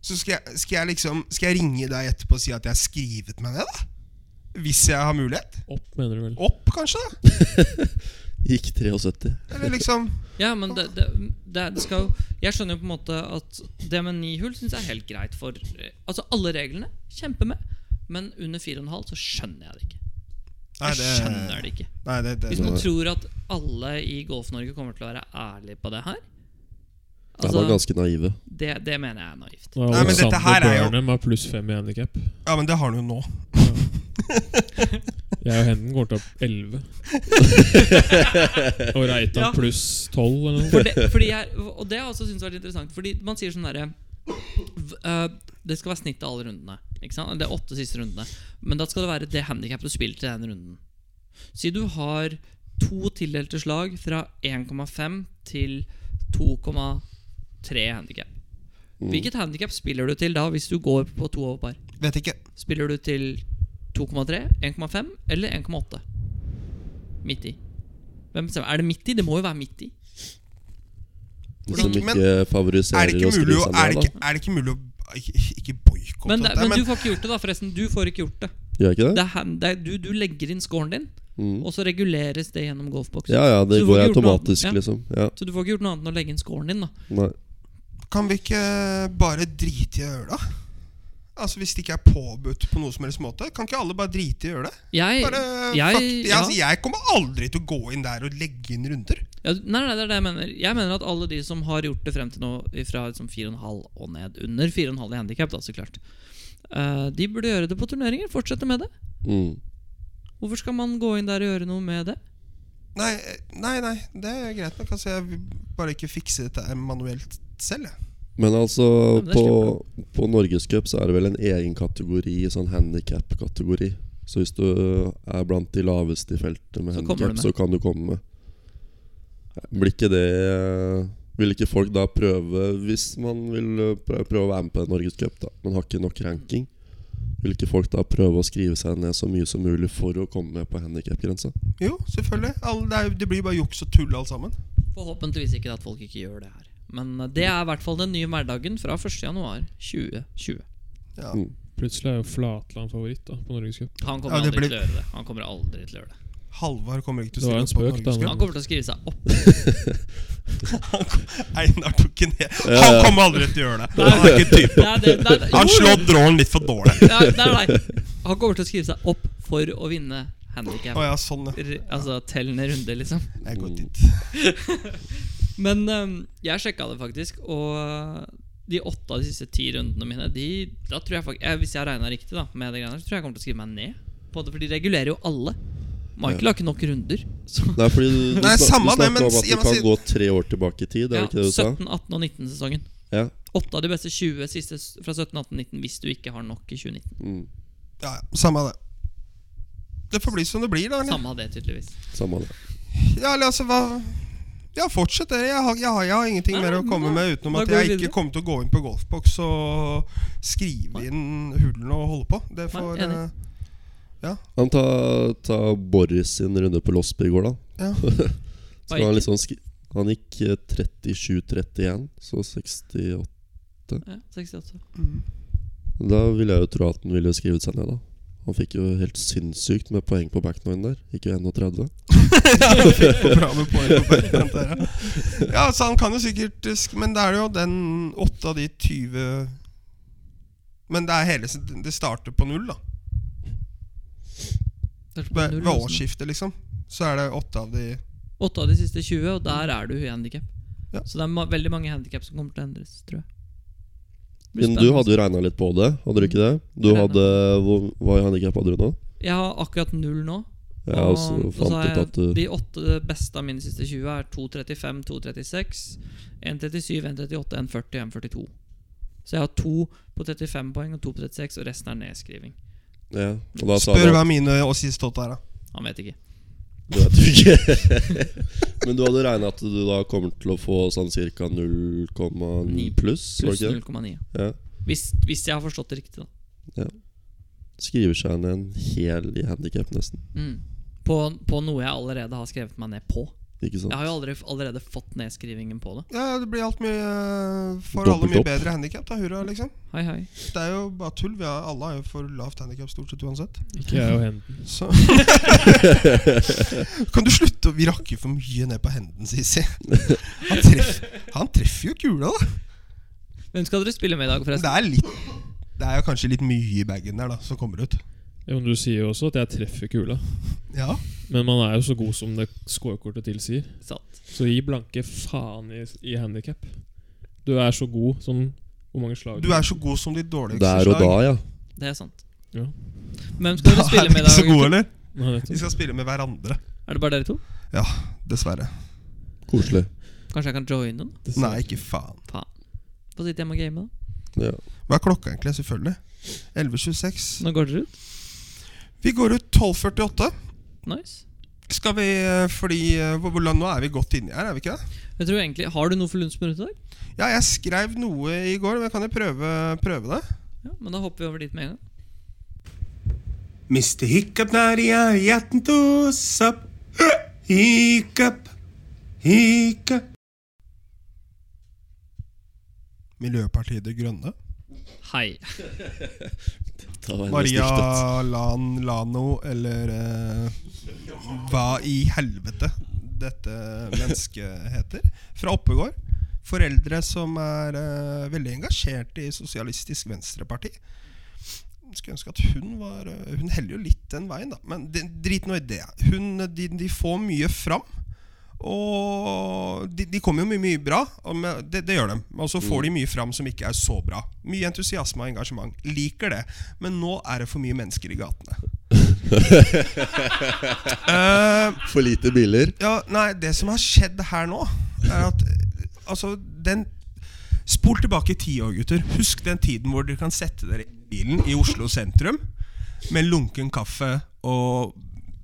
så skal, jeg, skal jeg liksom Skal jeg ringe deg etterpå og si at jeg har skrevet meg ned, da? Hvis jeg har mulighet? Opp, mener du vel. Opp, kanskje? da? Gikk 73. Eller liksom Ja, men det, det, det, det skal jo Jeg skjønner jo på en måte at det med ni hull syns jeg er helt greit for eh, Altså, alle reglene kjempe med, men under 4,5 så skjønner jeg det ikke. Nei, Jeg skjønner det ikke. Nei, det, det, Hvis man tror at alle i Golf-Norge kommer til å være ærlige på det her De var Altså, ganske naive. det, det mener jeg er naivt. Nå er Nei, men dette Alexander her er jo- Børnem har pluss fem i handikap. Ja, men det har han jo nå. Jeg og Henden går til opp 11. og Reitan Ja. pluss 12 eller noe. For det, fordi jeg, og det har jeg også syntes vært interessant. Fordi man sier sånn derre v- øh, Det skal være snitt av alle rundene. Ikke sant? Det er åtte siste rundene. Men da skal det være det handikappet du spiller til den runden. Si du har to tildelte slag fra 1,5 til 2,3 handikap. Hvilket handikap spiller du til da, hvis du går på to over par? Vet ikke. Spiller du til 2,3, 1,5 eller 1,8? Midt i. Hvem bestemmer? Er det midt i? Det må jo være midt i. De som Hvordan- men- ikke Er det favoriserer å ikke mulig skrive å seg Er det ned, da. ikke, er det ikke mulig å Ikke, ikke boikotte Men, det, dette, men du får ikke gjort det, da, forresten. Du får ikke gjort det. Gjør jeg ikke det det? er, hand- det er, du, du legger inn scoren din, Mm. og så reguleres det gjennom golfboks. Ja ja, det Så du får går ikke gjort noe annet, automatisk, ja. liksom. Ja, Så du får ikke gjort noe annet enn å legge inn scoren din. da nei Kan vi ikke bare drite i å gjøre det? Altså Hvis det ikke er påbudt på noe som helst måte, kan ikke alle bare drite i å gjøre det? Jeg, Bare, jeg, fuck, jeg, ja. altså, jeg kommer aldri til å gå inn der og legge inn runder. ja, nei, nei, det er det jeg mener. Jeg mener at alle de som har gjort det frem til nå, fra liksom 4,5 og ned, under 4,5 i handikap, da, så klart, eh, de burde gjøre det på turneringer. Fortsette med det. Mm. Hvorfor skal man gå inn der og gjøre noe med det? Nei, nei, nei det er greit nok. Altså, jeg vil bare ikke fikse dette her manuelt selv. Jeg. Men altså, men det på, på Norgescup så er det vel en egen kategori, sånn handikap-kategori. Så hvis du er blant de laveste i feltet med Så kommer du handikap, med. så kan du komme med. Blir ikke det eh, Vil ikke folk da prøve, hvis man vil prøve, prøve å være med på en Norgescup, da, men har ikke nok ranking, vil ikke folk da prøve å skrive seg ned så mye som mulig for å komme med på handikapgrensa? Jo, selvfølgelig. Alle, det, er, det blir bare juks og tull, alt sammen. Forhåpentligvis ikke at folk ikke gjør det her. Men eh, det er i hvert fall den nye hverdagen fra 1.1.2020. Ja. Mm. Plutselig er jo Flatland favoritt da på Norgescup. Han kommer Ja, det aldri blir- til å gjøre det. Han kommer aldri til å gjøre det. Halvard kommer ikke til Det å var stille en opp spøk, på da. Han Norgescup. kommer til å skrive seg opp. Einar tok en ned. Han kommer aldri til å gjøre det. Nei. Han er ikke typen. Nei, det, nei, det- Han jo, slår drålen litt for dårlig. Ja, nei, nei. Han kommer til å skrive seg opp for å vinne handikap. Å ja, sånn, ja. Altså tellende runde, liksom. Jeg går dit. Men ehm, jeg sjekka det faktisk, og eh, de åtte av de siste ti rundene mine de, Da tror jeg faktisk eh, Hvis jeg regna riktig, da med det greiene der, så tror jeg jeg kommer til å skrive meg ned. På det, for de regulerer jo alle. Michael har ikke nok runder. Så Nei, fordi du, du, Nei, snak, samme du det, snakker men om at si- du men kan si- gå tre år tilbake i tid. Er det ja, ikke det du sa? 17, 18 og 19-sesongen. Ja. Åtte av de beste 20 siste s- fra 17, 18, 19 hvis du ikke har nok i 2019. Mm, Ja, ja, samme av det. Det får bli som det blir, da. Eller? Samme av det, tydeligvis. samme det. Ja, eller altså, hva Ja, fortsett dere. Jeg har, jeg har, jeg har ingenting Nei, mer å men komme da- med utenom da går at vi jeg ikke videre. kommer til å gå inn på golfboks og skrive inn hullene og holde på. Det Nei, får enig. eh, Han tar ta Boris sin runde på Losby i går, da. Ja. Hva Så han, gikk? liksom skri han gikk eh, 37-31, så 68 Ja, 68. mm. Da ville jeg jo tro at han ville skrevet seg ned, da. Han fikk jo helt sinnssykt med poeng på backnoin der. Gikk jo 31. Og bra med poeng på background der, ja. ja, så han kan jo sikkert eh, sk- Men det er jo den åtte av de 20 Men det er hele s- Det starter på null, da. Ved, ved årsskiftet, liksom. Så er det åtte av de Åtte av de siste 20, og der er du i handikap. Ja. Så det er ma veldig mange handikap som kommer til å endres, tror jeg. Det blir Men du spennende. Mm. hadde jo regna litt på det, hadde du ikke det? Du Jeg regnet. hadde, hvor, Hva handikap hadde du nå? Jeg har akkurat null nå. Jeg også og så fant har ut jeg at du De åtte beste av mine siste 20 er 2.35, 2.36, 1.37, 1.38, 1.40 og 1.42. Så jeg har to på 35 poeng og to på 36, og resten er nedskriving. ja, og da sa Spør du at- hva mine og sist åtte er, da. Han vet ikke. Det vet du ikke. Men du hadde regna at du da kommer til å få sånn ca. 0,9 pluss? var det Pluss ikke det? 0,9. Ja. Hvis, hvis jeg har forstått det riktig, da. Skriver seg ned en hel i handikap, nesten. Mm. På, på noe jeg allerede har skrevet meg ned på. Ikke sant? Jeg har jo aldri, allerede fått nedskrivingen på det. Ja, det blir alt mye eh, For alle Dobbelt mye opp. bedre handikap, da. Hurra, liksom. Hei, hei. Det er jo bare tull. Vi har, alle har jo for lavt handikap stort sett uansett. Ikke jeg og Henden. Så Kan du slutte å Vi rakk jo for mye ned på henden, Sisi. Han, treff, han treffer jo kula, da. Hvem skal dere spille med i dag, forresten? Det er litt Det er jo kanskje litt mye i bagen der, da, som kommer ut. Ja, men du sier jo også at jeg treffer kula. Ja. Men man er jo så god som det scorekortet tilsier. Satt. Så gi blanke faen i, i handikap. Du er så god som Hvor mange slag? Du er så god som de dårligste Der og da, ja. Det er sant. Ja. Hvem skal dere er spille vi med i ikke så dag? gode, gutter? eller? Nei, Vi nettopp. skal spille med hverandre, Er det bare dere to? dessverre. Koselig. Kanskje jeg kan joine den? Det ser- Nei, ikke faen. Faen. Få sitte hjemme og game, da. Ja. Hva er klokka egentlig? Selvfølgelig. 11.26. Nå går dere ut. Vi går ut 12.48. Nice. Skal vi eh, Fordi eh, hvor- hvor- Nå er vi godt inni her, er vi ikke det? Jeg tror egentlig, Har du noe for Lundsminutt i dag? Ja, jeg skrev noe i går, men kan jeg prøve, prøve det? Ja, men Da hopper vi over dit med en gang. Mr. Hiccup Nadia, hjerten tos opp. Hiccup, hiccup. Miljøpartiet De Grønne. Hei. Ta veldig Maria stygt, ass. Lan Lano, eller eh, Hva i helvete dette mennesket heter. Fra Oppegård. Foreldre som er eh, veldig engasjert i Sosialistisk Venstreparti. Skulle ønske at hun var eh, Hun heller jo litt den veien, da. Men det, drit nå i det. Hun, de, de får mye fram. Og de, de kommer jo mye, mye bra. Og med, det, det gjør de. Og så får de mye fram som ikke er så bra. Mye entusiasme og engasjement. Liker det. Men nå er det for mye mennesker i gatene. Eh, For lite biler. ja, nei, det som har skjedd her nå, er at eh, Altså, den Spol tilbake i ti år, gutter. Husk den tiden hvor dere kan sette dere i bilen i Oslo sentrum med lunken kaffe og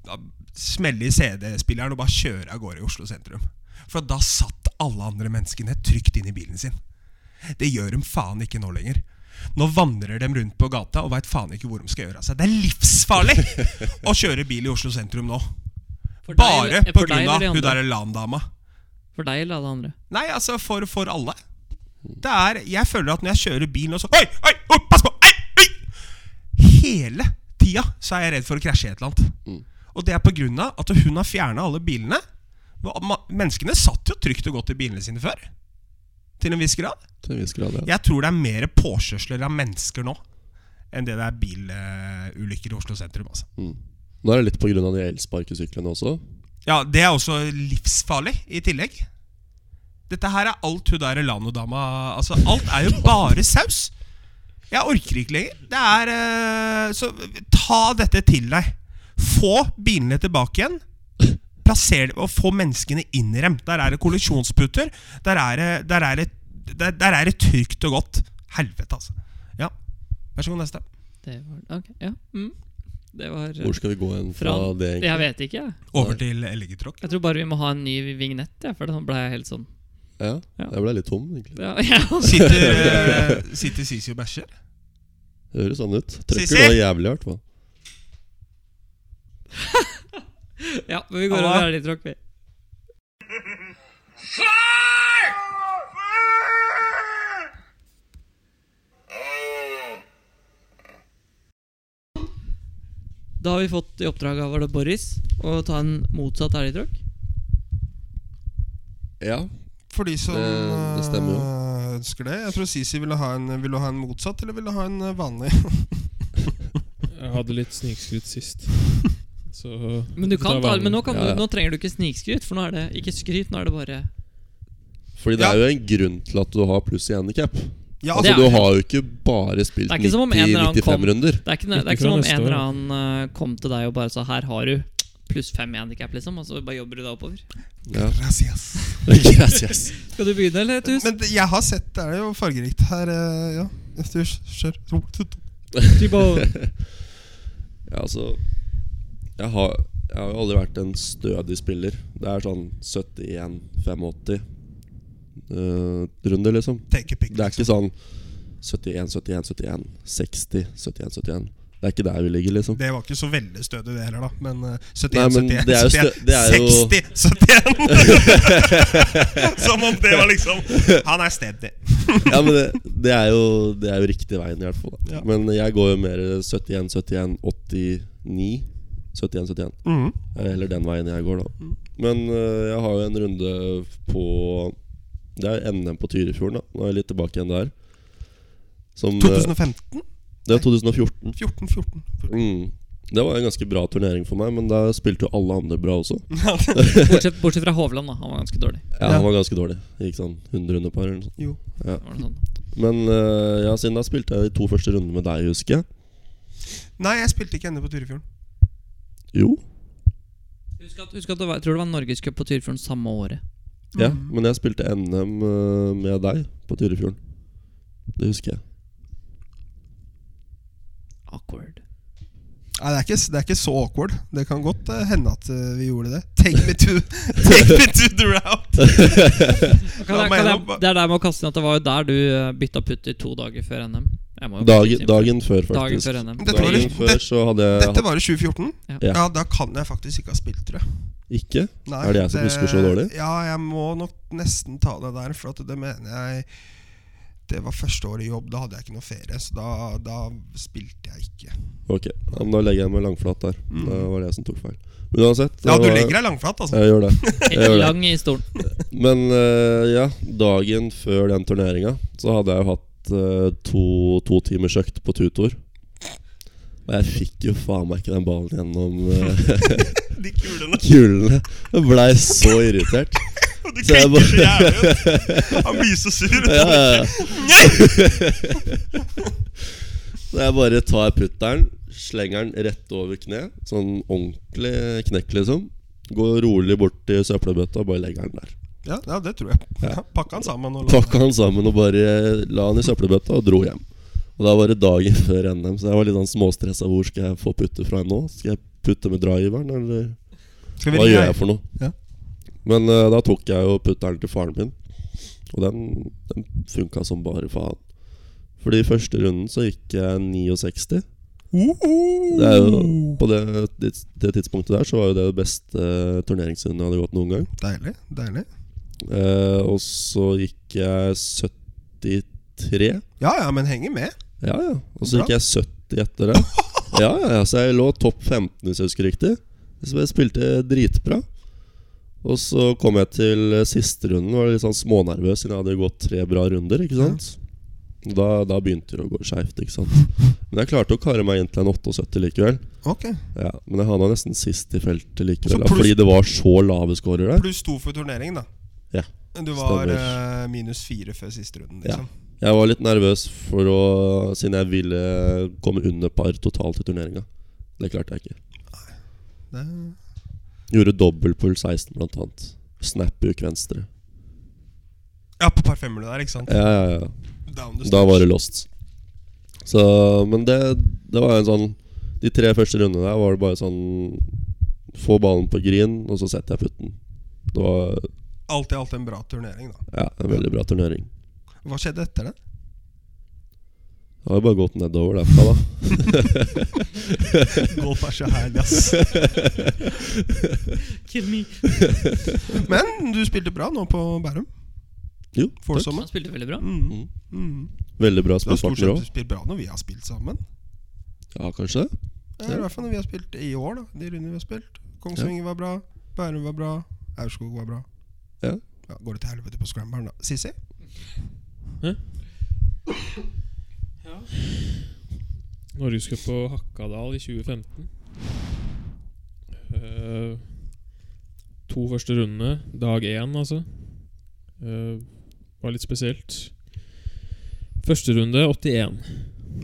ja, smelle i CD-spilleren og bare kjøre av gårde i Oslo sentrum. For da satt alle andre menneskene trygt inn i bilen sin. Det gjør de faen ikke nå lenger. Nå vandrer de rundt på gata og veit faen ikke hvor de skal gjøre av seg. Det er livsfarlig å kjøre bil i Oslo sentrum nå. For deg Bare eller- eh, på for deg grunn eller av de hun andre? der Lan-dama. For deg eller alle andre? Nei, altså, for, for alle. Det er Jeg føler at når jeg kjører bil nå, så Oi, oi, oi pass på! Ei, oi! hele tida så er jeg redd for å krasje i et eller annet. Mm. Og det er på grunn av at hun har fjerna alle bilene. Hva- ma- Menneskene satt jo trygt og godt i bilene sine før. Til en viss grad. Til en viss grad, ja. Jeg tror det er mer påkjørsler av mennesker nå enn det det er bilulykker i Oslo sentrum. altså Nå er det litt på grunn av de elsparkesyklene også. Ja, det er også livsfarlig i tillegg. Dette her er alt hun der Elano-dama Altså, alt er jo bare saus! Jeg orker ikke lenger. Det er eh, Så ta dette til deg. Få bilene tilbake igjen. Plasser det, og få menneskene inn i dem. Der er det kollisjonsputer. Der er det, der er det, der, der er det trygt og godt. Helvete, altså. Ja. Vær så god, neste. Det var Ok, ja. Mm. Det var Hvor skal vi gå hen fra Fra- det, egentlig? Jeg vet ikke, jeg. Over til Elegitråkk. Jeg tror bare vi må ha en ny vignett, jeg, for da ble jeg helt sånn Ja, Ja. jeg ble litt tom, egentlig. ja, ja. Sitter, eh, sitter Sisi og bæsjer? Det høres sånn ut. Sissy? Trøkker da jævlig hardt, hva? ja, men vi går Halla. over litt rock, vi. Da har vi fått i oppdrag av var det Boris å ta en motsatt elgtråkk. Ja. For de som Det- det stemmer jo. øh, ønsker det. Jeg tror Sisi ville ha en, ville ha en motsatt, eller ville ha en øh, vanlig? Jeg hadde litt snikskrutt sist. Så Men, du kan Da ta, var- men nå, kan Ja, ja. Du, nå trenger du ikke snikskryt, for nå er det ikke skryt. Nå er det bare Fordi det Ja. er jo en grunn til at du har pluss i handikap. Ja, Altså, Det er- du har jo ikke bare spilt Det er ikke som om en eller annen kom- 90-95 runder. Det er ikke, det er Ikke ikke som fra om en neste eller år, da. annen eh, kom til deg og bare sa 'her har du pluss fem i handikap', liksom, og så bare jobber du deg oppover. Ja. Gracias. yes, yes. Skal du begynne, eller, Tus? Men det- jeg har sett det er jo fargerikt her. øh, Ja. Efter- Kjør. Ja, altså jeg har, jeg har jo aldri vært en stødig spiller. Det er sånn 71-85 eh, runde, liksom. Take a pic. Det er ikke sånn 71, 71, 71, 60, 71, 71. Det er ikke der vi ligger, liksom. Det var ikke så veldig stødig, det heller, da. Men øh, 71, Nei, men 71, det er jo stø- 71, det er jo- 60, 71! som om det var liksom Han er stedig. Ja, men det, det, er jo, det er jo riktig veien, i hvert fall. Da. Ja. Men jeg går jo mer 71, 71, 89. 71, 71. Mhm. Eh, Eller den veien jeg går, da. Mm. Men øh, jeg har jo en runde på Det er NM på Tyrifjorden, da. Nå er jeg litt tilbake igjen der. Som, øh, 2015? det er 2014. 14, 14. Mm. Det var en ganske bra turnering for meg, men da spilte jo alle andre bra også. Mm. Bortsett, bortsett fra Hovland, da. Han var ganske dårlig. Ja, Han var ganske dårlig. Gikk sånn 100 under par eller noe sånt. Jo. Det var sånn. noe sånt. Men øh, ja, siden da spilte jeg de to første rundene med deg, husker jeg. Nei, jeg spilte ikke ennå på Turefjorden. Jo. Husk at, husk at det var, jeg tror det var Norgescup på Tyrfjorden samme året. Ja, Mm. men jeg spilte NM øh, med deg på Tyrifjorden. Det husker jeg. Awkward. Nei, det er, ikke, det er ikke så awkward. Det kan godt eh, hende at eh, vi gjorde det. Take me to, take me to the route! Kan La jeg, kan meg jeg, gjennom- det er der med å kaste inn at det var jo der du eh, bytta putter to dager før NM. Jeg må jo Dag, faktisk si- dagen før, faktisk. dagen før NM. Dette var dagen det- før så hadde jeg Dette var i 2014. Ja. Ja. da kan jeg faktisk ikke ha spilt, tror jeg. Ikke? Nei, eh, Er det jeg som husker så dårlig? Ja, jeg må nok nesten ta det der, for at det mener jeg Det var første året i jobb, da hadde jeg ikke noe ferie, så da, da spilte jeg ikke. Ok, ja, men Da legger jeg meg langflat der. Mm. Da var det jeg som tok feil. Men uansett Ja, du legger deg langflat, altså. Jeg gjør det. Jeg gjør det. Lang i stolen. Men eh, ja, dagen før den turneringa så hadde jeg jo hatt eh, to, to timers økt på tutor. Og jeg fikk jo faen meg ikke den ballen gjennom eh, De kulene. kulene. Jeg blei så irritert. Og du Så jeg klikker så jævlig ut. Han blir så sur. Ja, ja, ja. Så jeg bare tar putteren, slenger den rett over kne. Sånn ordentlig knekk, liksom. Går rolig bort til søppelbøtta og bare legger den der. Ja, ja det tror jeg. Ja, Pakka han sammen og la pakka han sammen og bare la han i søppelbøtta og dro hjem. Og Da var det dagen før NM, så jeg var litt sånn småstressa. Hvor skal jeg få putte fra nå? Skal jeg putte med driveren, eller Skal vi hva ringe gjør deg? jeg for noe? Ja. Men eh, da tok jeg jo putteren til faren min, og den, den funka som bare faen. Fordi i første runden så gikk jeg 69. Det er jo, på det, det tidspunktet der så var jo det det beste eh, turneringsrunden jeg hadde gått noen gang. Deilig. Deilig. Eh, og så gikk jeg 73. Ja ja, men henger med. Ja, ja. Og så Bra. gikk jeg 70 etter det. Ja, ja, ja, så jeg lå topp 15, hvis jeg husker riktig. Så jeg spilte dritbra. Og så kom jeg til eh, siste runden, var litt sånn smånervøs siden jeg hadde gått tre bra runder. ikke sant? Da, da begynte det å gå skeivt, ikke sant. Men jeg klarte å kare meg inn til en 78 likevel. Ok. Ja, men jeg havna nesten sist i feltet Så likevel, da, Altså, pluss- fordi det var så lave scorer der. Pluss to for turneringen, da. Ja. Du var Stemmer. eh, minus fire før siste runden, Ja. liksom. Jeg var litt nervøs for å, siden jeg ville komme under par totalt i turneringa. Det klarte jeg ikke. Det, Gjorde dobbel pull 16, blant annet. Snapbook venstre. ja, på par femmere der, ikke sant? Ja, ja, ja. Down the Da stretch. var det lost. Så, men det, det var en sånn De tre første rundene der var det bare sånn Få ballen på green, og så setter jeg putten. Det var Alt i alt en bra turnering, da. ja, en veldig bra turnering. Hva skjedde etter det? Det har jo bare gått nedover derfra, da. Golf er så herlig, ass. Kill me. Men du spilte bra nå på Bærum. Jo, takk. Forsommer. Han spilte veldig bra. Mm. Mm. Mm. Veldig bra Du har stort spillpartner sett òg. spilt bra når vi har spilt sammen. Ja, kanskje det. Ja, I hvert fall når vi har spilt i år, da. De rundene vi har spilt. Kongsvinger var bra, Bærum var bra, Aurskog var bra. Ja. Ja, går det til helvete på scramberen, da? Sissi? Norgescup på Hakadal i 2015. Eh, to første rundene, dag én, altså. Eh, var litt spesielt. Første runde 81.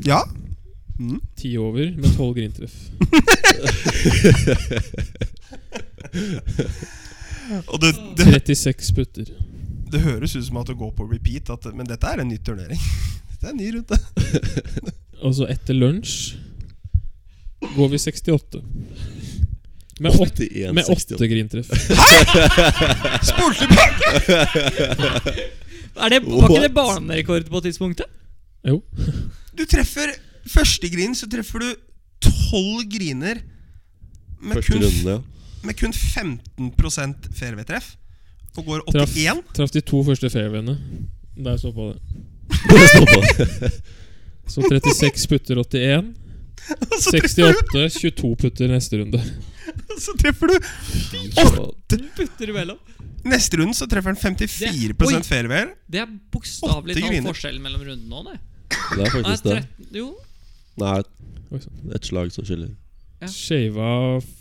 Ja. Ti over med tolv grintreff. Og det, det, 36 putter. det høres ut som at det går på repeat, at, men dette er en ny turnering. Dette er en ny runde. Og så Altså, etter lunsj går vi 68. Med åtte, 81, med 68. åtte grintreff. Spol tilbake! Er det, var ikke det What? barnerekord på tidspunktet? Jo. Du treffer første grin, så treffer du tolv griner med Første kun, runden, ja. med kun 15 fairway-treff. Og går Traff, 81. traff de to første fairwayene. Der så på det. Det står på. Så 36 putter 81. Og så treffer, 68, 22 putter neste runde. du, så treffer du Putter imellom. Neste runden så treffer han 54 Det- fairway. Det er bokstavelig Åtte talt griner. forskjellen mellom rundene nå, det. Det er Nei, faktisk det. 13 Jo, Nei, et slag som skiller. Ja. Shava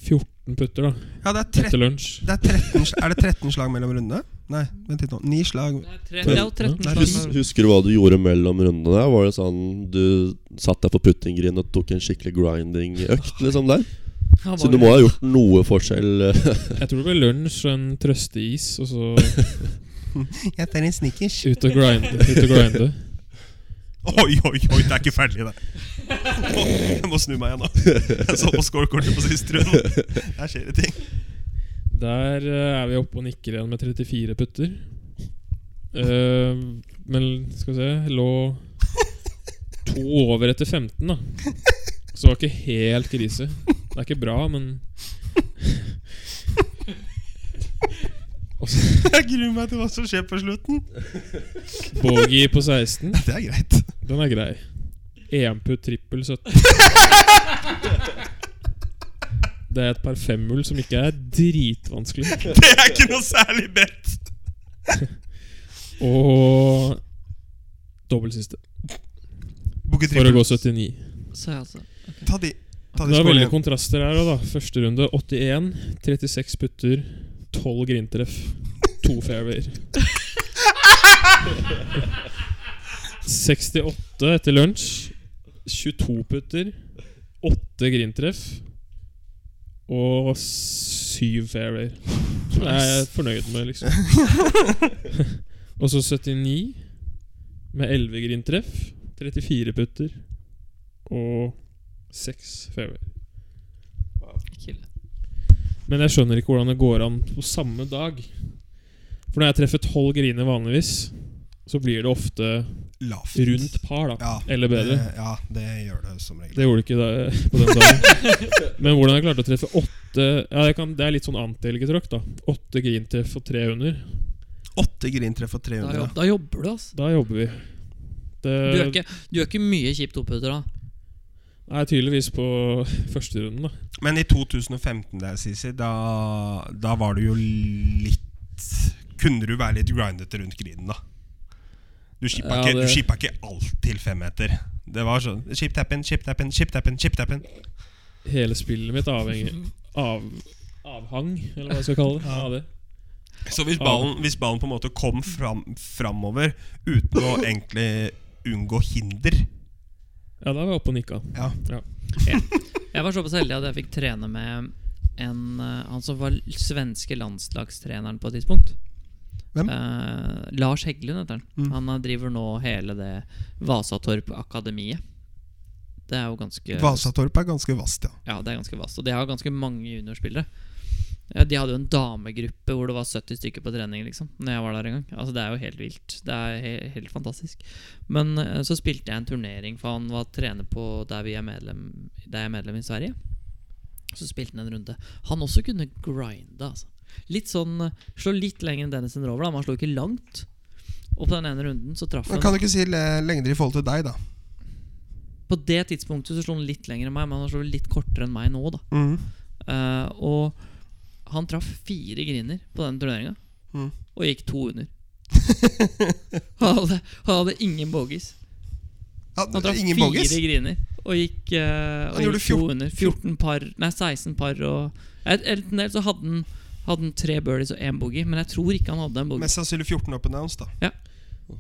14 putter da Ja, det er 13 etter lunsj. Det er, 13, sl- er det 13 slag mellom rundene? Nei, vent litt nå. 9 slag. det er, tre, det er jo 13 Nei, slag. Hus, husker du hva du gjorde mellom rundene? der? Var det sånn Du satt deg på puttinggrind og tok en skikkelig grinding-økt liksom der? Han Så var- du må ha gjort noe forskjell. eh, Jeg tror det ble lunsj og en trøsteis, og så Jeg tar en snickers. ut og grinde. Ut og grinde. Oi, oi, oi, det er ikke ferdig, det. Jeg må snu meg igjen nå. Jeg så på scorekortet på siste runde. Der skjer det ting. Der eh, er vi oppe og nikker igjen med 34 putter. Eh, men skal vi se Lå to over etter 15, da. Så det var ikke helt krise. Det er ikke bra, men Og så Jeg gruer meg til hva som skjer på slutten. Bogey på 16. Det er greit. Den er grei. EM-putt trippel 17. Det er et par femhull som ikke er dritvanskelig. Det er ikke noe særlig bedt. Og dobbelt siste. Booker For å gå trippel. 79. Så jeg altså Ta de. Ta de Det er scorene. veldig kontraster her òg, da. Første runde 81, 36 putter, 12 grintreff, to fairwayer. 68 etter lunsj, 22 putter, 8 grintreff og 7 fairwayer. Som jeg er fornøyd med, liksom. og så 79 med 11 grintreff, 34 putter og 6 fairwayer. Ikke ille. Men jeg skjønner ikke hvordan det går an på samme dag. For når jeg treffer tolv griner vanligvis, så blir det ofte Lavt. rundt par, da. Ja, Eller bedre. Eh, det- Ja, det gjør det som regel. Det gjorde det ikke da, eh, på den dagen. Men hvordan jeg klarte å treffe åtte ja, jeg kan, Det er litt sånn antielgetråkk, da. Åtte grintreff og tre under. Åtte grintreff og Da, 300. jobb, da jobber du, altså. Da jobber vi. Du gjør Det, ikke, du gjør ikke mye kjipt opphutter da. Nei, tydeligvis på første runden, da. Men i 2015 der, Sisi, da, da var du jo litt Kunne du være litt grindete rundt grinen, da? Du skippa Ja, ikke, du det- skippa ikke alt til femmeter. Det var sånn Chip tappen, chip tappen, chip tappen, chip tappen. Hele spillet mitt avhenger av avhang, eller hva jeg skal kalle det. Av det. Så hvis ballen, hvis ballen på en måte kom fram, framover uten å egentlig unngå hinder Ja, da var jeg oppe og nikka. Ja. Jeg var såpass heldig at jeg fikk trene med en, eh, han som var l- svenske landslagstreneren på et tidspunkt. Hvem? Mm. Eh, Lars Heggelund heter han. Han eh, driver nå hele det Vasatorp-akademiet. Det er jo ganske Vasatorp er ganske vast, ja. Ja, det er ganske vast. Og de har ganske mange juniorspillere. Ja, de hadde jo en damegruppe hvor det var 70 stykker på trening. liksom Når jeg var der en gang Altså Det er jo helt vilt. Det er he helt fantastisk. Men eh, så spilte jeg en turnering, for han var trener på der, vi er medlem, der jeg er medlem i Sverige. Så spilte han en runde. Han også kunne grinde. altså Litt sånn eh, Slå litt lenger enn Dennison Rover, da, men han slo ikke langt. Og på den ene runden så traff han Men kan du ikke si le- lengder i forhold til deg, da? På det tidspunktet så slo han litt lenger enn meg, men han slo litt kortere enn meg nå, da. Mm. Eh, og han traff fire griner på den turneringa. Mm. Og gikk to under. han, hadde, han hadde ingen bogies. Ja, Han traff ingen fire bogies? griner og gikk, eh, Han og gjorde gikk to under. 14 par, nei 16 par og Et- Enten det, så hadde han, hadde han tre birdies og én boogie, men jeg tror ikke han hadde en boogie. Mest sannsynlig 14 up and downs, da.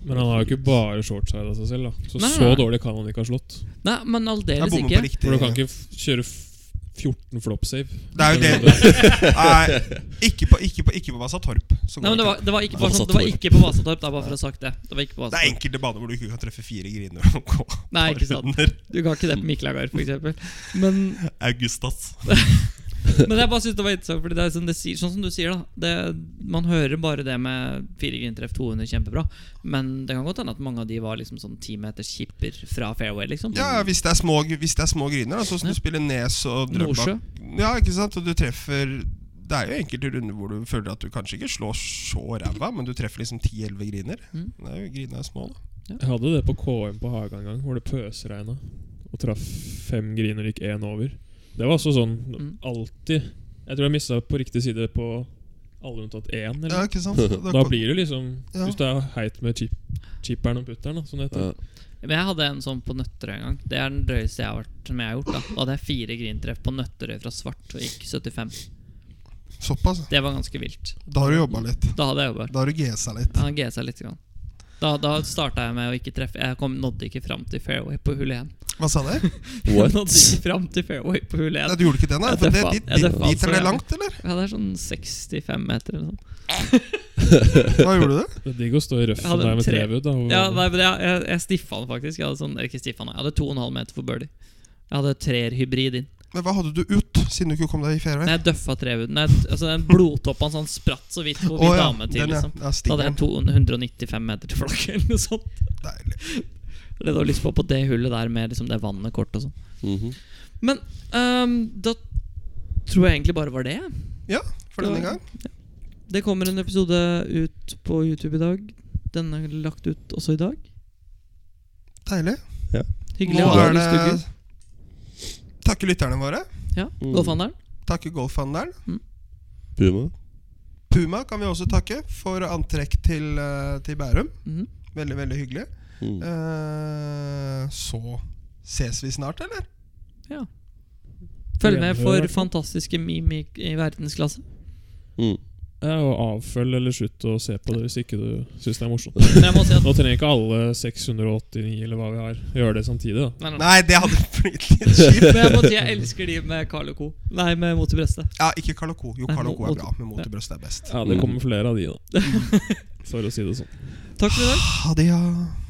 Men han har jo ikke bare shortside av seg selv, da. Så Nei, nei, så nei. dårlig kan han ikke ha slått. Nei, men Jeg aldeles bommer på ikke. riktig. For du kan ikke f- kjøre f- 14 flop save. Det er jo det Nei, ikke på, ikke på, ikke på Vasatorp. så går Nei, men det ikke. var, det var ikke på, sånn- Vasatorp. det var ikke på Vasatorp, da, bare for å ha sagt det. Det var ikke på det er Vasatorp. enkelte baner hvor du ikke kan treffe fire griner og gå Nei, ikke sant. under. Du kan ikke det på Miklagard, for eksempel Men Augustas. Men jeg bare synes det var interessant Fordi det er sånn, det sier, sånn som du sier da det, Man hører bare det med fire grintreff 200 kjempebra Men det kan godt hende at mange av de var liksom sånn 10 meters kipper fra fairway liksom Ja, ja, hvis det er små, hvis det er små griner, da, så skal Ja. du spille Nes og Nordsjø. Drøbak. Ja, ikke sant? Og du treffer Det er jo enkelte runder hvor du føler at du kanskje ikke slår så ræva, men du treffer liksom 10-11 griner. Mm. Det er jo Grinene er små, da. Jeg hadde det på KM på Haga en gang, hvor det pøsregna. Og traff fem griner, gikk én over. Det var også sånn Mm. alltid. Jeg tror jeg mista på riktig side på alle unntatt én. Ja, Eller? ikke sant? Da, Da blir det liksom Ja. Hvis det er heit med chip, chipperen og putteren, da, som det heter. Ja. Men jeg hadde en sånn på Nøtterøy en gang Det er den drøyeste jeg har vært som jeg har gjort da Da hadde jeg fire grintreff på Nøtterøy fra svart Og gikk 75 Såpass. Det var ganske vilt Da har du jobba litt. Da hadde jeg jobbet Da har du GSA litt. Ja, han gesa seg litt grann. Da, da startet jeg med å ikke treffe Jeg kom, nådde ikke frem til fairway på hull 1 Hva sa du? Jeg What? nådde ikke frem til fairway på hull 1 Nei, Du gjorde ikke det, nei? Jeg For det, døffa- dit, jeg dit, døffa dit for er det jævlig. langt, eller? Ja, det er sånn 65 meter eller noe sånt. Hva gjorde du? Det er digg å stå i Jeg røffen hadde der med tre- trevudd. da, og- Ja, nei, men jeg, jeg, jeg stiffa den faktisk. Jeg hadde, sånn, eller ikke stiffa den, jeg hadde 2,5 meter for birdie. Jeg hadde treerhybrid inn. Men hva hadde du ut, siden du ikke kom deg i fairway? Nei, jeg døffa trehuden. Nei, Altså, den blodtoppen hans han spratt så vidt på Å, vidt ja, dame til. den, ja. liksom Ja, Da hadde jeg stikkeren. 295 meter til flagget eller noe sånt. Deilig. Det du har lyst på på det hullet der med liksom det vannet kort og sånn. Mhm. Men ehm, da tror jeg egentlig bare var det. jeg. Ja, for denne gang. Det kommer en episode ut på YouTube i dag. Den er lagt ut også i dag. Deilig. Hyggelig Nå å ha deg er det neste uke. Takke lytterne våre. Ja, Mm. Golfhandelen. Takke golfhandelen. Puma? Puma kan vi også takke for antrekk til, eh, til Bærum. Mhm. Veldig, veldig hyggelig. Mm. Eh, så ses vi snart, eller? Følg med Gjenhør, for hvertfall. fantastiske meme i- i verdensklasse. Mm. Ja, og avfølg eller slutt å se på det hvis ikke du syns det er morsomt. Men jeg må si at Nå trenger ikke alle 689 eller hva vi har, gjøre det samtidig. da Nei, nei. Nei, det hadde blitt litt Men kjipt. jeg må si jeg elsker de med Carl Co. Nei, med Mot i brøstet. Ja, ikke Carl Co. Jo, Nei, Carl Co er mot- bra, men mot i brøstet er best. Ja, Det kommer flere av de, da. For å si det sånn. Takk for i dag. Ha det, ja.